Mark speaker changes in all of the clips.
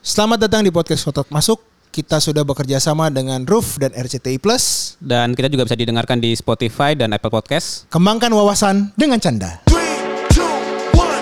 Speaker 1: Selamat datang di podcast Kotak Masuk. Kita sudah bekerja sama dengan Roof dan RCTI Plus.
Speaker 2: Dan kita juga bisa didengarkan di Spotify dan Apple Podcast.
Speaker 1: Kembangkan wawasan dengan canda.
Speaker 3: Three, two, one.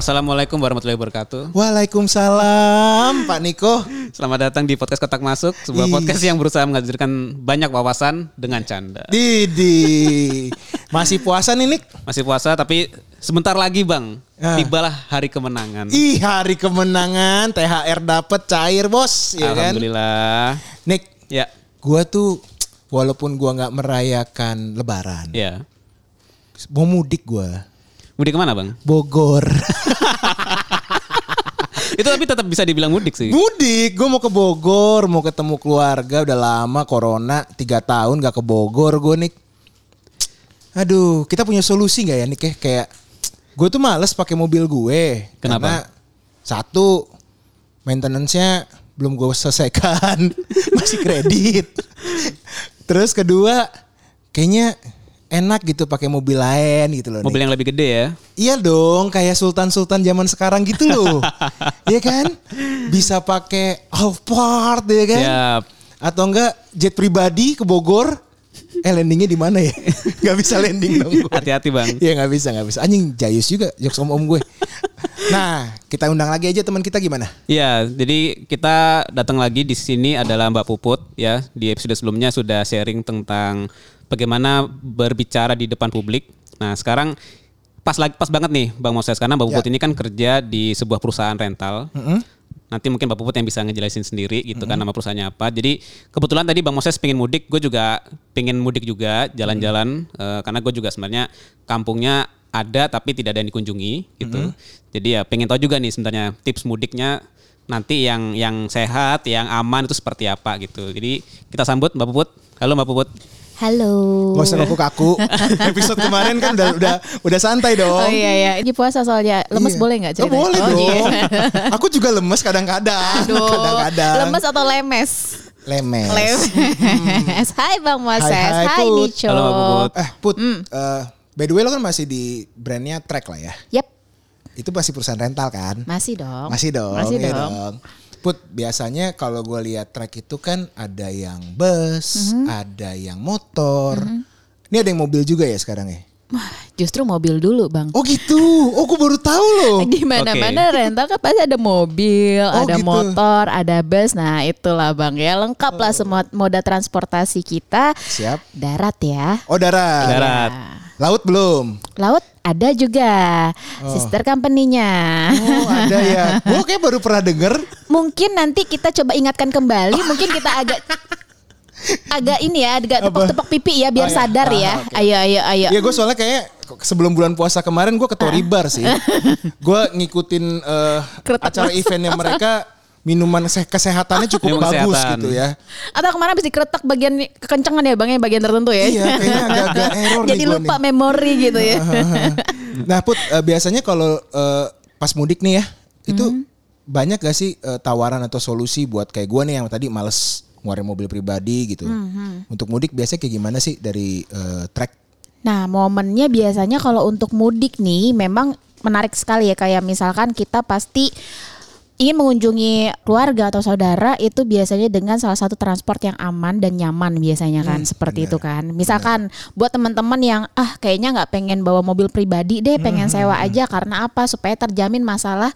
Speaker 2: Assalamualaikum warahmatullahi wabarakatuh.
Speaker 1: Waalaikumsalam, Pak Niko.
Speaker 2: Selamat datang di podcast Kotak Masuk,
Speaker 1: Ih.
Speaker 2: sebuah podcast yang berusaha menghadirkan banyak wawasan dengan canda.
Speaker 1: Didi. Masih puasa nih, Nik?
Speaker 2: Masih puasa tapi sebentar lagi bang,
Speaker 1: Ah.
Speaker 2: tibalah hari kemenangan.
Speaker 1: Ih, hari kemenangan, THR dapet cair, Bos, ya kan?
Speaker 2: Alhamdulillah.
Speaker 1: Nik,
Speaker 2: Ya,
Speaker 1: gua tuh walaupun gua nggak merayakan lebaran,
Speaker 2: ya.
Speaker 1: mau mudik gua.
Speaker 2: Mudik kemana bang?
Speaker 1: Bogor.
Speaker 2: Itu tapi tetap bisa dibilang mudik sih.
Speaker 1: mudik, gua mau ke Bogor, mau ketemu keluarga udah lama corona, tiga tahun gak ke Bogor gua Nik. Aduh, kita punya solusi nggak ya Nik ya? Kayak gue tuh males pakai mobil gue.
Speaker 2: Kenapa?
Speaker 1: Karena satu maintenance-nya belum gue selesaikan, masih kredit. Terus kedua, kayaknya enak gitu pakai mobil lain gitu loh. Nik.
Speaker 2: Mobil yang lebih gede ya.
Speaker 1: Iya dong, kayak sultan-sultan zaman sekarang gitu loh. Iya kan? Bisa pakai Alphard ya kan?
Speaker 4: Iya.
Speaker 2: Siap.
Speaker 1: Atau enggak jet pribadi ke Bogor? Eh landingnya di mana ya? Gak bisa landing dong. gue.
Speaker 2: Hati-hati bang.
Speaker 1: Iya nggak bisa nggak bisa. Anjing jayus juga jokes om om gue. Nah kita undang lagi aja teman kita gimana?
Speaker 2: Ya, jadi kita datang lagi di sini adalah Mbak Puput ya. Di episode sebelumnya sudah sharing tentang bagaimana berbicara di depan publik. Nah, sekarang pas lagi pas banget nih Bang Moses karena Mbak Puput ini kan kerja di sebuah perusahaan rental. Nanti mungkin Mbak Puput yang bisa ngejelasin sendiri gitu kan nama perusahaannya apa. Jadi kebetulan tadi Bang Moses pengen mudik, gue juga pengen mudik juga jalan-jalan eh, karena gue juga sebenarnya kampungnya ada tapi tidak ada yang dikunjungi gitu. Jadi ya pengen tahu juga nih sebenarnya tips mudiknya nanti yang yang sehat, yang aman itu seperti apa gitu. Jadi kita sambut Mbak Puput. Halo Mbak Puput.
Speaker 4: Halo.
Speaker 1: Gak usah kaku kaku. Episode kemarin kan udah udah udah santai dong.
Speaker 4: Oh iya ya, ini puasa soalnya. Lemes
Speaker 1: Iya.
Speaker 4: boleh nggak
Speaker 1: Oh,
Speaker 4: cerita?
Speaker 1: boleh
Speaker 4: Oh,
Speaker 1: dong.
Speaker 4: iya.
Speaker 1: Aku juga lemes kadang-kadang.
Speaker 4: Aduh,
Speaker 1: Kadang-kadang.
Speaker 4: lemes atau lemes?
Speaker 1: Lemes. Hmm.
Speaker 4: Lemes. Hai Bang Moses,
Speaker 1: Hai, hai,
Speaker 4: hai,
Speaker 1: Put.
Speaker 4: Nico.
Speaker 2: Halo, Mbak Put.
Speaker 1: Eh Put, eh, by the way lo kan masih di brandnya Track lah ya.
Speaker 4: Yep,
Speaker 1: Itu masih perusahaan rental kan?
Speaker 4: masih dong.
Speaker 1: Masih dong.
Speaker 4: Masih
Speaker 1: iya
Speaker 4: dong.
Speaker 1: Put, biasanya kalau gue lihat Track itu kan ada yang bus, ada yang motor. Ini ada yang mobil juga ya sekarang ya?
Speaker 4: Wah, Justru mobil dulu Bang.
Speaker 1: Oh gitu, oh gue baru tahu loh.
Speaker 4: Di mana-mana rental kan pasti ada mobil,
Speaker 1: Oh,
Speaker 4: ada
Speaker 1: gitu.
Speaker 4: motor, ada bus. Nah, itulah Bang ya. Lengkap lah semua moda transportasi kita.
Speaker 1: Oh. Siap.
Speaker 4: Darat ya.
Speaker 1: Oh darat.
Speaker 2: Darat.
Speaker 1: Laut belum?
Speaker 4: Laut ada juga. Sister company-nya.
Speaker 1: Oh ada ya. Gue kayak baru pernah denger.
Speaker 4: mungkin nanti kita coba ingatkan kembali
Speaker 1: Oh.
Speaker 4: mungkin kita agak agak ini ya agak tepok-tepok pipi ya biar
Speaker 1: Oh, iya.
Speaker 4: sadar
Speaker 1: Ah,
Speaker 4: ya Eh.
Speaker 1: oke.
Speaker 4: ayo ayo ayo
Speaker 1: Ya gue soalnya kayak sebelum bulan puasa kemarin gue ke Tory Bar sih. Gue ngikutin eh,
Speaker 4: Kretek
Speaker 1: acara
Speaker 4: mas.
Speaker 1: eventnya mereka minuman se- kesehatannya cukup
Speaker 2: Minuman
Speaker 1: bagus
Speaker 2: kesehatan.
Speaker 1: gitu ya.
Speaker 4: atau kemarin habis dikeretak bagian ini- kekencangan ya bang ya bagian tertentu ya
Speaker 1: Iya, kayaknya agak-agak error nih
Speaker 4: jadi
Speaker 1: gua
Speaker 4: lupa
Speaker 1: nih.
Speaker 4: memori gitu ya
Speaker 1: Nah Put eh, biasanya kalau eh, pas mudik nih ya itu
Speaker 4: Hmm.
Speaker 1: banyak gak sih eh, tawaran atau solusi buat kayak gue nih yang tadi males ngeluarin mobil pribadi gitu.
Speaker 4: Hmm,
Speaker 1: Untuk mudik biasanya kayak gimana sih dari eh, track?
Speaker 4: Nah, momennya biasanya kalau untuk mudik nih memang menarik sekali ya kayak misalkan kita pasti ingin mengunjungi keluarga atau saudara itu biasanya dengan salah satu transport yang aman dan nyaman biasanya kan seperti itu kan. Misalkan buat teman-teman yang ah kayaknya nggak pengen bawa mobil pribadi deh, pengen sewa aja karena apa? Supaya terjamin masalah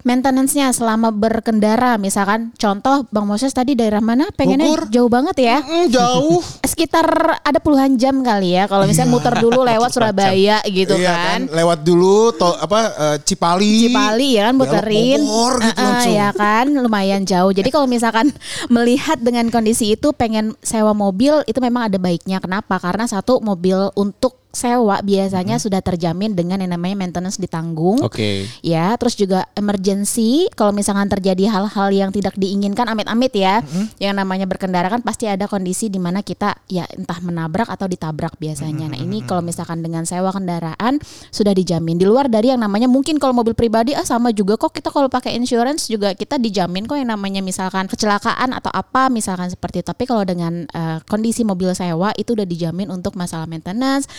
Speaker 4: maintenance-nya selama berkendara. Misalkan contoh Bang Moses tadi daerah mana? Pengennya
Speaker 1: Bogor.
Speaker 4: jauh banget ya
Speaker 1: Mm, jauh.
Speaker 4: sekitar ada puluhan jam kali ya kalau misalnya muter dulu lewat Surabaya gitu
Speaker 1: Iya
Speaker 4: kan.
Speaker 1: Lewat dulu to, apa eh, Cipali.
Speaker 4: Cipali ya kan
Speaker 1: Belok
Speaker 4: muterin.
Speaker 1: Bogor gitu
Speaker 4: Eh, eh,
Speaker 1: langsung.
Speaker 4: ya kan lumayan jauh. Jadi kalau misalkan melihat dengan kondisi itu pengen sewa mobil itu memang ada baiknya. Kenapa? Karena satu mobil untuk sewa biasanya sudah terjamin dengan yang namanya maintenance ditanggung.
Speaker 2: Oke.
Speaker 4: Ya, terus juga emergency kalau misalkan terjadi hal-hal yang tidak diinginkan amit-amit ya. Yang namanya berkendara kan pasti ada kondisi di mana kita ya entah menabrak atau ditabrak biasanya. Nah, ini kalau misalkan dengan sewa kendaraan sudah dijamin di luar dari yang namanya mungkin kalau mobil pribadi ah sama juga kok kita kalau pakai insurance juga kita dijamin kok yang namanya misalkan kecelakaan atau apa misalkan seperti itu. Tapi kalau dengan eh, kondisi mobil sewa itu udah dijamin untuk masalah maintenance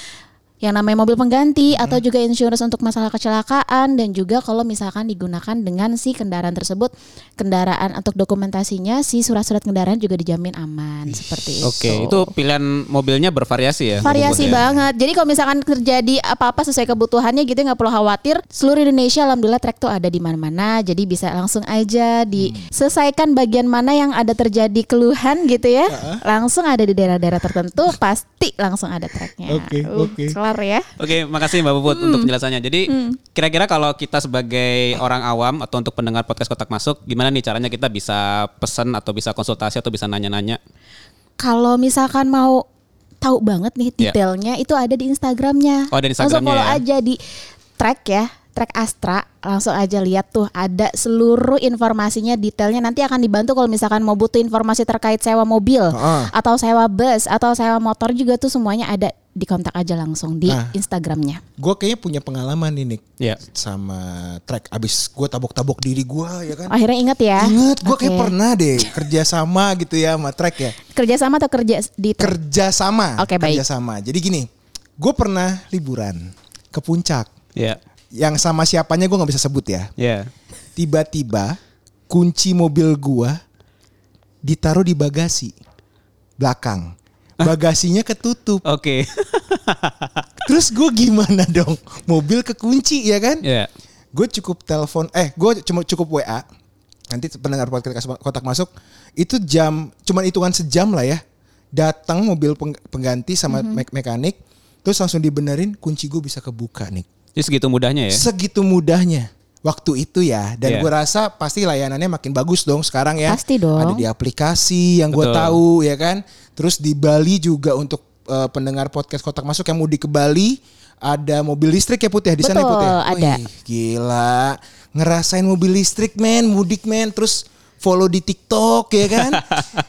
Speaker 4: yang namanya mobil pengganti
Speaker 2: Hmm.
Speaker 4: atau juga insurance untuk masalah kecelakaan dan juga kalau misalkan digunakan dengan si kendaraan tersebut kendaraan untuk dokumentasinya si surat-surat kendaraan juga dijamin aman seperti itu.
Speaker 2: Oke, itu pilihan mobilnya bervariasi ya. bang
Speaker 4: Variasi banget. Jadi kalau misalkan terjadi apa-apa sesuai kebutuhannya gitu nggak perlu khawatir. Seluruh Indonesia alhamdulillah trek tuh ada di mana-mana. Jadi bisa langsung aja diselesaikan bagian mana yang ada terjadi keluhan gitu ya. Langsung ada di daerah-daerah tertentu pasti langsung ada treknya.
Speaker 1: Oke, oke.
Speaker 4: Kelar ya.
Speaker 2: Oke, makasih Mbak Puput
Speaker 4: Hmm.
Speaker 2: untuk penjelasannya. Jadi kira-kira kalau kita sebagai orang awam atau untuk pendengar podcast Kotak Masuk, gimana nih caranya kita bisa pesan atau bisa konsultasi atau bisa nanya-nanya?
Speaker 4: kalau misalkan mau tahu banget nih
Speaker 2: Iya.
Speaker 4: detailnya itu ada di Instagramnya.
Speaker 2: Oh, ada di
Speaker 4: Langsung
Speaker 2: Instagramnya
Speaker 4: follow
Speaker 2: ya.
Speaker 4: aja di track ya, track Astra. Langsung aja lihat tuh ada seluruh informasinya, detailnya nanti akan dibantu kalau misalkan mau butuh informasi terkait sewa mobil
Speaker 1: Heeh.
Speaker 4: atau sewa bus atau sewa motor juga tuh semuanya ada di kontak aja langsung di
Speaker 1: Nah.
Speaker 4: Instagramnya.
Speaker 1: Gue kayaknya punya pengalaman nih Nick
Speaker 2: Iya.
Speaker 1: sama track. Abis gue tabok-tabok diri gue ya kan.
Speaker 4: Akhirnya ingat ya.
Speaker 1: Ingat gue kayak
Speaker 4: Oke.
Speaker 1: pernah deh kerja sama gitu ya sama track ya.
Speaker 4: kerja sama atau kerja di track?
Speaker 1: Kerja sama.
Speaker 4: Oke, baik.
Speaker 1: Kerja sama. Jadi gini, gue pernah liburan ke puncak.
Speaker 2: Ya.
Speaker 1: Yang sama siapanya gue nggak bisa sebut ya.
Speaker 2: Ya.
Speaker 1: Tiba-tiba kunci mobil gue ditaruh di bagasi belakang. Bagasinya ketutup.
Speaker 2: Oke.
Speaker 1: Terus gue gimana dong? Mobil kekunci ya kan?
Speaker 2: Ya.
Speaker 1: gue cukup telepon eh gue cuma cukup WA nanti pendengar podcast kotak masuk itu jam cuman hitungan sejam lah ya datang mobil peng- pengganti sama mek- mekanik terus langsung dibenerin kunci gue bisa kebuka nih
Speaker 2: Jadi segitu mudahnya ya.
Speaker 1: segitu mudahnya waktu itu ya dan
Speaker 2: Iya.
Speaker 1: gue rasa pasti layanannya makin bagus dong sekarang ya
Speaker 4: Pasti dong.
Speaker 1: ada di aplikasi yang gue
Speaker 2: Betul.
Speaker 1: tahu ya kan terus di Bali juga untuk eh, pendengar podcast kotak masuk yang mudik ke Bali ada mobil listrik ya putih di sana ya
Speaker 4: Betul,
Speaker 1: Put, ya?
Speaker 4: ada.
Speaker 1: Wih, gila ngerasain mobil listrik men mudik men terus follow di TikTok ya kan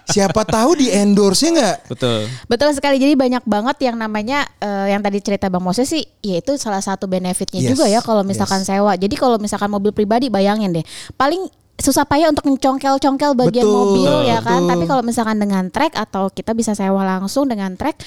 Speaker 1: siapa tahu di endorse nya nggak
Speaker 2: Betul.
Speaker 4: Betul sekali. Jadi banyak banget yang namanya eh, yang tadi cerita Bang Moses sih yaitu salah satu benefitnya
Speaker 1: Yes,
Speaker 4: juga ya kalau misalkan sewa. Jadi kalau misalkan mobil pribadi bayangin deh. Paling susah payah untuk mencongkel-congkel bagian
Speaker 1: Betul,
Speaker 4: mobil ya kan.
Speaker 1: betul.
Speaker 4: Tapi kalau misalkan dengan trek atau kita bisa sewa langsung dengan trek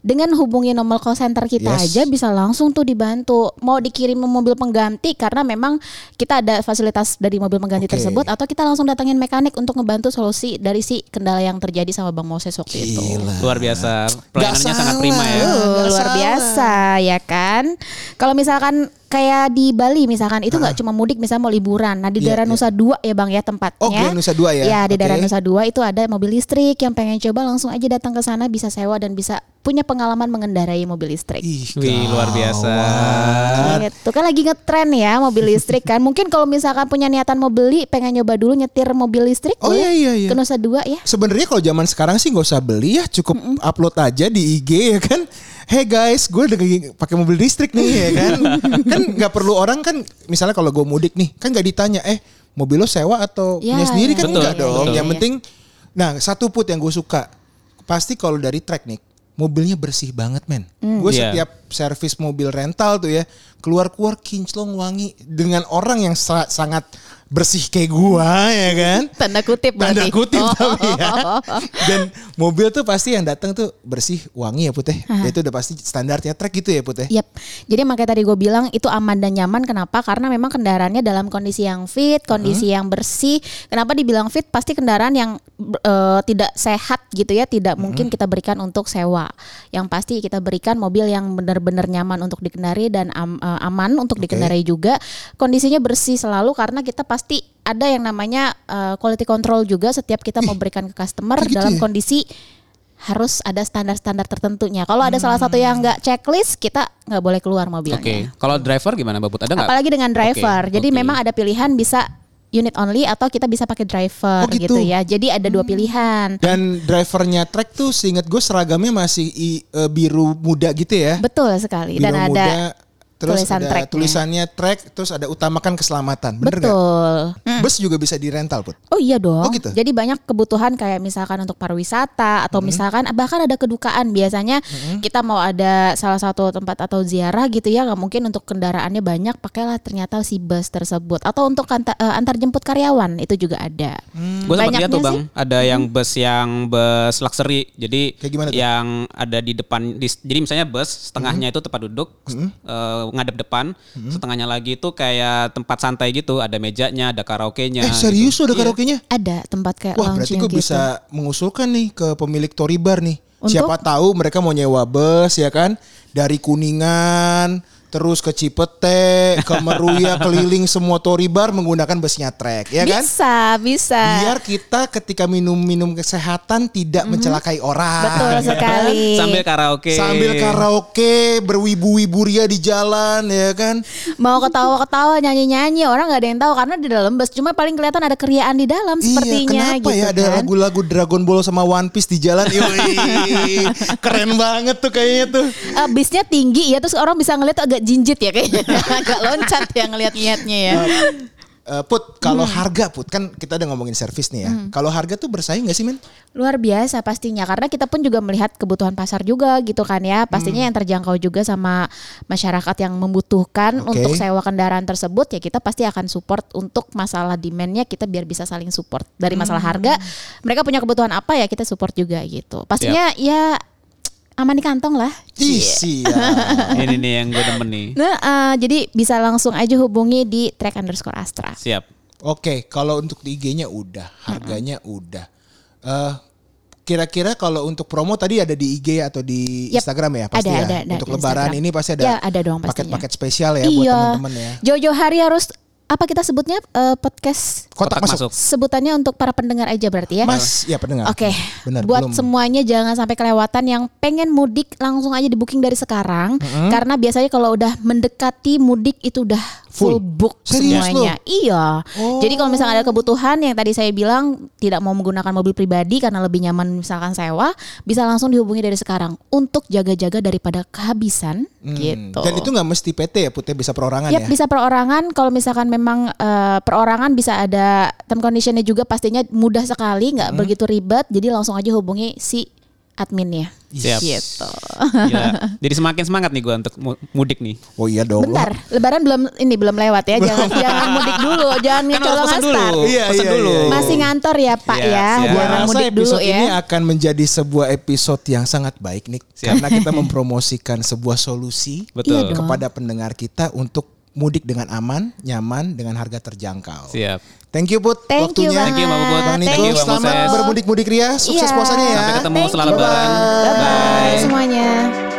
Speaker 4: dengan hubungi nomor call center kita
Speaker 1: Yes.
Speaker 4: aja bisa langsung tuh dibantu. Mau dikirim mobil pengganti karena memang kita ada fasilitas dari mobil pengganti
Speaker 1: Oke.
Speaker 4: tersebut atau kita langsung datangin mekanik untuk ngebantu solusi dari si kendala yang terjadi sama Bang Moses waktu itu.
Speaker 1: gila
Speaker 2: Luar biasa. Pelayanannya sangat
Speaker 1: salah.
Speaker 2: prima ya.
Speaker 4: Betul,
Speaker 1: Ah, Nggak
Speaker 4: luar
Speaker 1: salah.
Speaker 4: biasa ya kan. Kalau misalkan kayak di Bali misalkan itu nggak cuma mudik misalnya mau liburan. Nah
Speaker 1: Ah.
Speaker 4: di
Speaker 1: Iya,
Speaker 4: daerah
Speaker 1: iya.
Speaker 4: Nusa Dua ya bang ya tempatnya.
Speaker 1: Oh, daerah Nusa Dua ya?
Speaker 4: Iya di daerah
Speaker 1: Oke.
Speaker 4: Nusa Dua itu ada mobil listrik yang pengen coba langsung aja datang ke sana bisa sewa dan bisa punya pengalaman mengendarai mobil listrik.
Speaker 1: Ih,
Speaker 2: Wih, luar biasa.
Speaker 1: Iya.
Speaker 4: Gitu kan lagi ngetren ya mobil listrik kan. Mungkin kalau misalkan punya niatan mau beli pengen nyoba dulu nyetir mobil listrik
Speaker 1: Oh,
Speaker 4: boleh
Speaker 1: iya, iya, iya.
Speaker 4: ke Nusa Dua ya.
Speaker 1: Sebenarnya kalau zaman sekarang sih nggak usah beli ya, cukup upload aja di IG ya kan. Hey guys, gue lagi pakai mobil listrik nih ya kan. kan nggak perlu orang kan, misalnya kalau gue mudik nih, kan nggak ditanya, eh mobil lo sewa atau
Speaker 4: Ya,
Speaker 1: punya sendiri kan
Speaker 2: Betul,
Speaker 1: enggak dong.
Speaker 2: betul.
Speaker 1: Yang penting, nah satu put yang gue suka, pasti kalau dari track nih, mobilnya bersih banget men. Gue
Speaker 2: Iya.
Speaker 1: setiap servis mobil rental tuh ya keluar-keluar kinclong wangi dengan orang yang sa- sangat bersih kayak gua ya kan
Speaker 4: Tanda kutip
Speaker 1: Tanda
Speaker 4: berarti.
Speaker 1: kutip
Speaker 4: Oh.
Speaker 1: tapi ya. Dan mobil tuh pasti yang datang tuh bersih, wangi ya Putih. Ya, Itu udah pasti standarnya trek gitu ya Putih.
Speaker 4: Yap. Jadi makanya tadi gue bilang itu aman dan nyaman. Kenapa? Karena memang kendaraannya dalam kondisi yang fit, kondisi yang bersih. Kenapa dibilang fit? Pasti kendaraan yang eh, tidak sehat gitu ya, tidak mungkin kita berikan untuk sewa. Yang pasti kita berikan mobil yang benar-benar nyaman untuk dikendari dan am- eh, aman untuk dikendarai juga. Kondisinya bersih selalu karena kita pasti ada yang namanya eh, quality control juga setiap kita mau berikan ke customer
Speaker 1: kayak gitu
Speaker 4: dalam
Speaker 1: ya?
Speaker 4: kondisi harus ada standar-standar tertentunya. Kalau ada salah satu yang nggak checklist, kita nggak boleh keluar
Speaker 2: Hmm. Oke.
Speaker 4: mobilnya.
Speaker 2: Kalau driver gimana Mbak Put? Ada nggak?
Speaker 4: Apalagi Iya, dengan driver.
Speaker 2: Oke,
Speaker 4: Jadi
Speaker 2: oke.
Speaker 4: memang ada pilihan bisa unit only atau kita bisa pakai driver
Speaker 1: Oh, gitu.
Speaker 4: gitu. ya. Jadi ada
Speaker 2: Hmm.
Speaker 4: dua pilihan.
Speaker 1: Dan drivernya trek tuh seingat gue seragamnya masih i- eh, biru muda gitu ya.
Speaker 4: Betul sekali. Dan
Speaker 1: Biru
Speaker 4: ada
Speaker 1: muda, terus
Speaker 4: tulisan
Speaker 1: ada
Speaker 4: treknya.
Speaker 1: tulisannya trek, terus ada utamakan keselamatan. Bener nggak?
Speaker 4: betul. Hmm.
Speaker 1: Bus juga bisa dirental put.
Speaker 4: Oh iya dong.
Speaker 1: Oh, gitu? Mm-hmm.
Speaker 4: Jadi banyak kebutuhan kayak misalkan untuk pariwisata atau misalkan bahkan ada kedukaan biasanya kita mau ada salah satu tempat atau ziarah gitu ya nggak mungkin untuk kendaraannya banyak pakailah ternyata si bus tersebut atau untuk anta- eh, antar jemput karyawan itu juga ada.
Speaker 1: Hmm.
Speaker 2: Gue sempat lihat tuh
Speaker 4: Banyaknya Hmm.
Speaker 2: bang, ada yang bus yang bus luxury, jadi
Speaker 1: Kayak gimana tuh? Hmm.
Speaker 2: yang ada di depan, di- jadi misalnya bus setengahnya itu tempat duduk, eh, ngadep depan, setengahnya lagi itu kayak tempat santai gitu, ada mejanya, ada karaoke-nya.
Speaker 1: Eh serius
Speaker 2: gitu.
Speaker 1: ada
Speaker 4: Iya.
Speaker 1: karaoke-nya?
Speaker 4: Ada tempat kayak
Speaker 1: Wah berarti
Speaker 4: lounging
Speaker 1: gue
Speaker 4: gitu.
Speaker 1: bisa mengusulkan nih ke pemilik Toribar nih.
Speaker 4: Untuk?
Speaker 1: Siapa tahu mereka mau nyewa bus ya kan dari Kuningan terus ke Cipete, ke Meruya keliling semua Toribar menggunakan busnya trek ya kan?
Speaker 4: Bisa, bisa.
Speaker 1: Biar kita ketika minum-minum kesehatan tidak mencelakai orang.
Speaker 4: Mhm. Betul sekali.
Speaker 2: Sambil karaoke.
Speaker 1: Sambil karaoke berwibu-wibu ria di jalan ya kan?
Speaker 4: Mau ketawa-ketawa, nyanyi-nyanyi, orang nggak ada yang tahu karena di dalam bus cuma paling kelihatan ada keriaan di dalam sepertinya
Speaker 1: iya, kenapa
Speaker 4: gitu
Speaker 1: ya ada
Speaker 4: kan.
Speaker 1: lagu-lagu Dragon Ball sama One Piece di jalan? Yoi, keren banget tuh kayaknya tuh.
Speaker 4: Eh, bisnya tinggi ya terus orang bisa ngeliat tuh agak jinjit ya kayaknya agak loncat ya ngeliat niatnya ya
Speaker 1: Eh, put, kalau
Speaker 4: Hmm.
Speaker 1: harga Put, kan kita udah ngomongin servis nih ya. Kalau harga tuh bersaing gak sih, Min?
Speaker 4: luar biasa pastinya karena kita pun juga melihat kebutuhan pasar juga gitu kan ya pastinya yang terjangkau juga sama masyarakat yang membutuhkan
Speaker 1: Oke.
Speaker 4: untuk sewa kendaraan tersebut ya kita pasti akan support untuk masalah demandnya kita biar bisa saling support dari masalah harga mereka punya kebutuhan apa ya kita support juga gitu pastinya ya aman di kantong lah
Speaker 1: Ih, siap.
Speaker 2: Ini nih yang gue demen nih.
Speaker 4: nah eh, jadi bisa langsung aja hubungi di track underscore astra
Speaker 2: Siap.
Speaker 1: Oke, kalau untuk di IG-nya udah, harganya udah. Eh, kira-kira kalau untuk promo tadi ada di IG atau di
Speaker 4: Yap.
Speaker 1: Instagram ya pasti
Speaker 4: Ada,
Speaker 1: ya.
Speaker 4: ada, ada
Speaker 1: untuk
Speaker 4: di
Speaker 1: lebaran
Speaker 4: Instagram.
Speaker 1: ini pasti ada.
Speaker 4: Ya, Iya. ada dong pastinya.
Speaker 1: Paket-paket spesial ya buat teman-teman ya.
Speaker 4: Jojo hari harus apa kita sebutnya eh, podcast
Speaker 1: Kotak,
Speaker 2: Kotak
Speaker 1: masuk.
Speaker 2: masuk.
Speaker 4: sebutannya untuk para pendengar aja berarti ya.
Speaker 1: Mas, ya pendengar.
Speaker 4: Oke.
Speaker 1: Benar,
Speaker 4: Buat
Speaker 1: belum.
Speaker 4: semuanya jangan sampai kelewatan yang pengen mudik langsung aja di booking dari sekarang karena biasanya kalau udah mendekati mudik itu udah
Speaker 1: Full.
Speaker 4: full, book
Speaker 1: Serius Oh.
Speaker 4: semuanya. Iya. Jadi kalau misalnya ada kebutuhan yang tadi saya bilang tidak mau menggunakan mobil pribadi karena lebih nyaman misalkan sewa, bisa langsung dihubungi dari sekarang untuk jaga-jaga daripada kehabisan gitu.
Speaker 1: Hmm. Dan itu nggak mesti PT ya, Putih bisa perorangan ya.
Speaker 4: Yap, bisa perorangan. Kalau misalkan memang eh, perorangan bisa ada term conditionnya juga pastinya mudah sekali, nggak
Speaker 1: Hmm.
Speaker 4: begitu ribet. Jadi langsung aja hubungi si adminnya.
Speaker 2: Siap.
Speaker 4: Gitu.
Speaker 2: Gila. Jadi semakin semangat nih gue untuk mu- mudik nih.
Speaker 1: Oh iya dong.
Speaker 4: Bentar, Lebaran belum ini belum lewat ya. Jangan jangan mudik dulu, jangan
Speaker 2: Kan harus
Speaker 4: colong
Speaker 2: pesan dulu.
Speaker 4: start.
Speaker 1: Iya,
Speaker 2: Pesan
Speaker 1: iya,
Speaker 2: dulu.
Speaker 1: iya, iya.
Speaker 4: Masih ngantor ya Pak
Speaker 2: Siap,
Speaker 4: ya,
Speaker 2: siap.
Speaker 1: Gua
Speaker 4: jangan
Speaker 1: rasa
Speaker 4: mudik dulu
Speaker 1: episode ini
Speaker 4: ya.
Speaker 1: akan menjadi sebuah episode yang sangat baik nih
Speaker 2: Siap.
Speaker 1: karena kita mempromosikan sebuah solusi
Speaker 2: Betul.
Speaker 4: Iya dong.
Speaker 1: kepada pendengar kita untuk mudik dengan aman, nyaman dengan harga terjangkau.
Speaker 2: Siap.
Speaker 1: Thank you Put
Speaker 4: Thank you
Speaker 1: waktunya.
Speaker 4: banget.
Speaker 2: Thank you, Mama
Speaker 1: Bang
Speaker 2: Put. Thank
Speaker 1: Niko,
Speaker 2: you, Bang
Speaker 1: selamat
Speaker 2: Moses.
Speaker 1: bermudik-mudik ria, sukses
Speaker 4: Iya.
Speaker 1: puasanya ya.
Speaker 2: Sampai ketemu
Speaker 4: Thank
Speaker 2: selamat
Speaker 4: you.
Speaker 2: lebaran.
Speaker 4: Bye semuanya.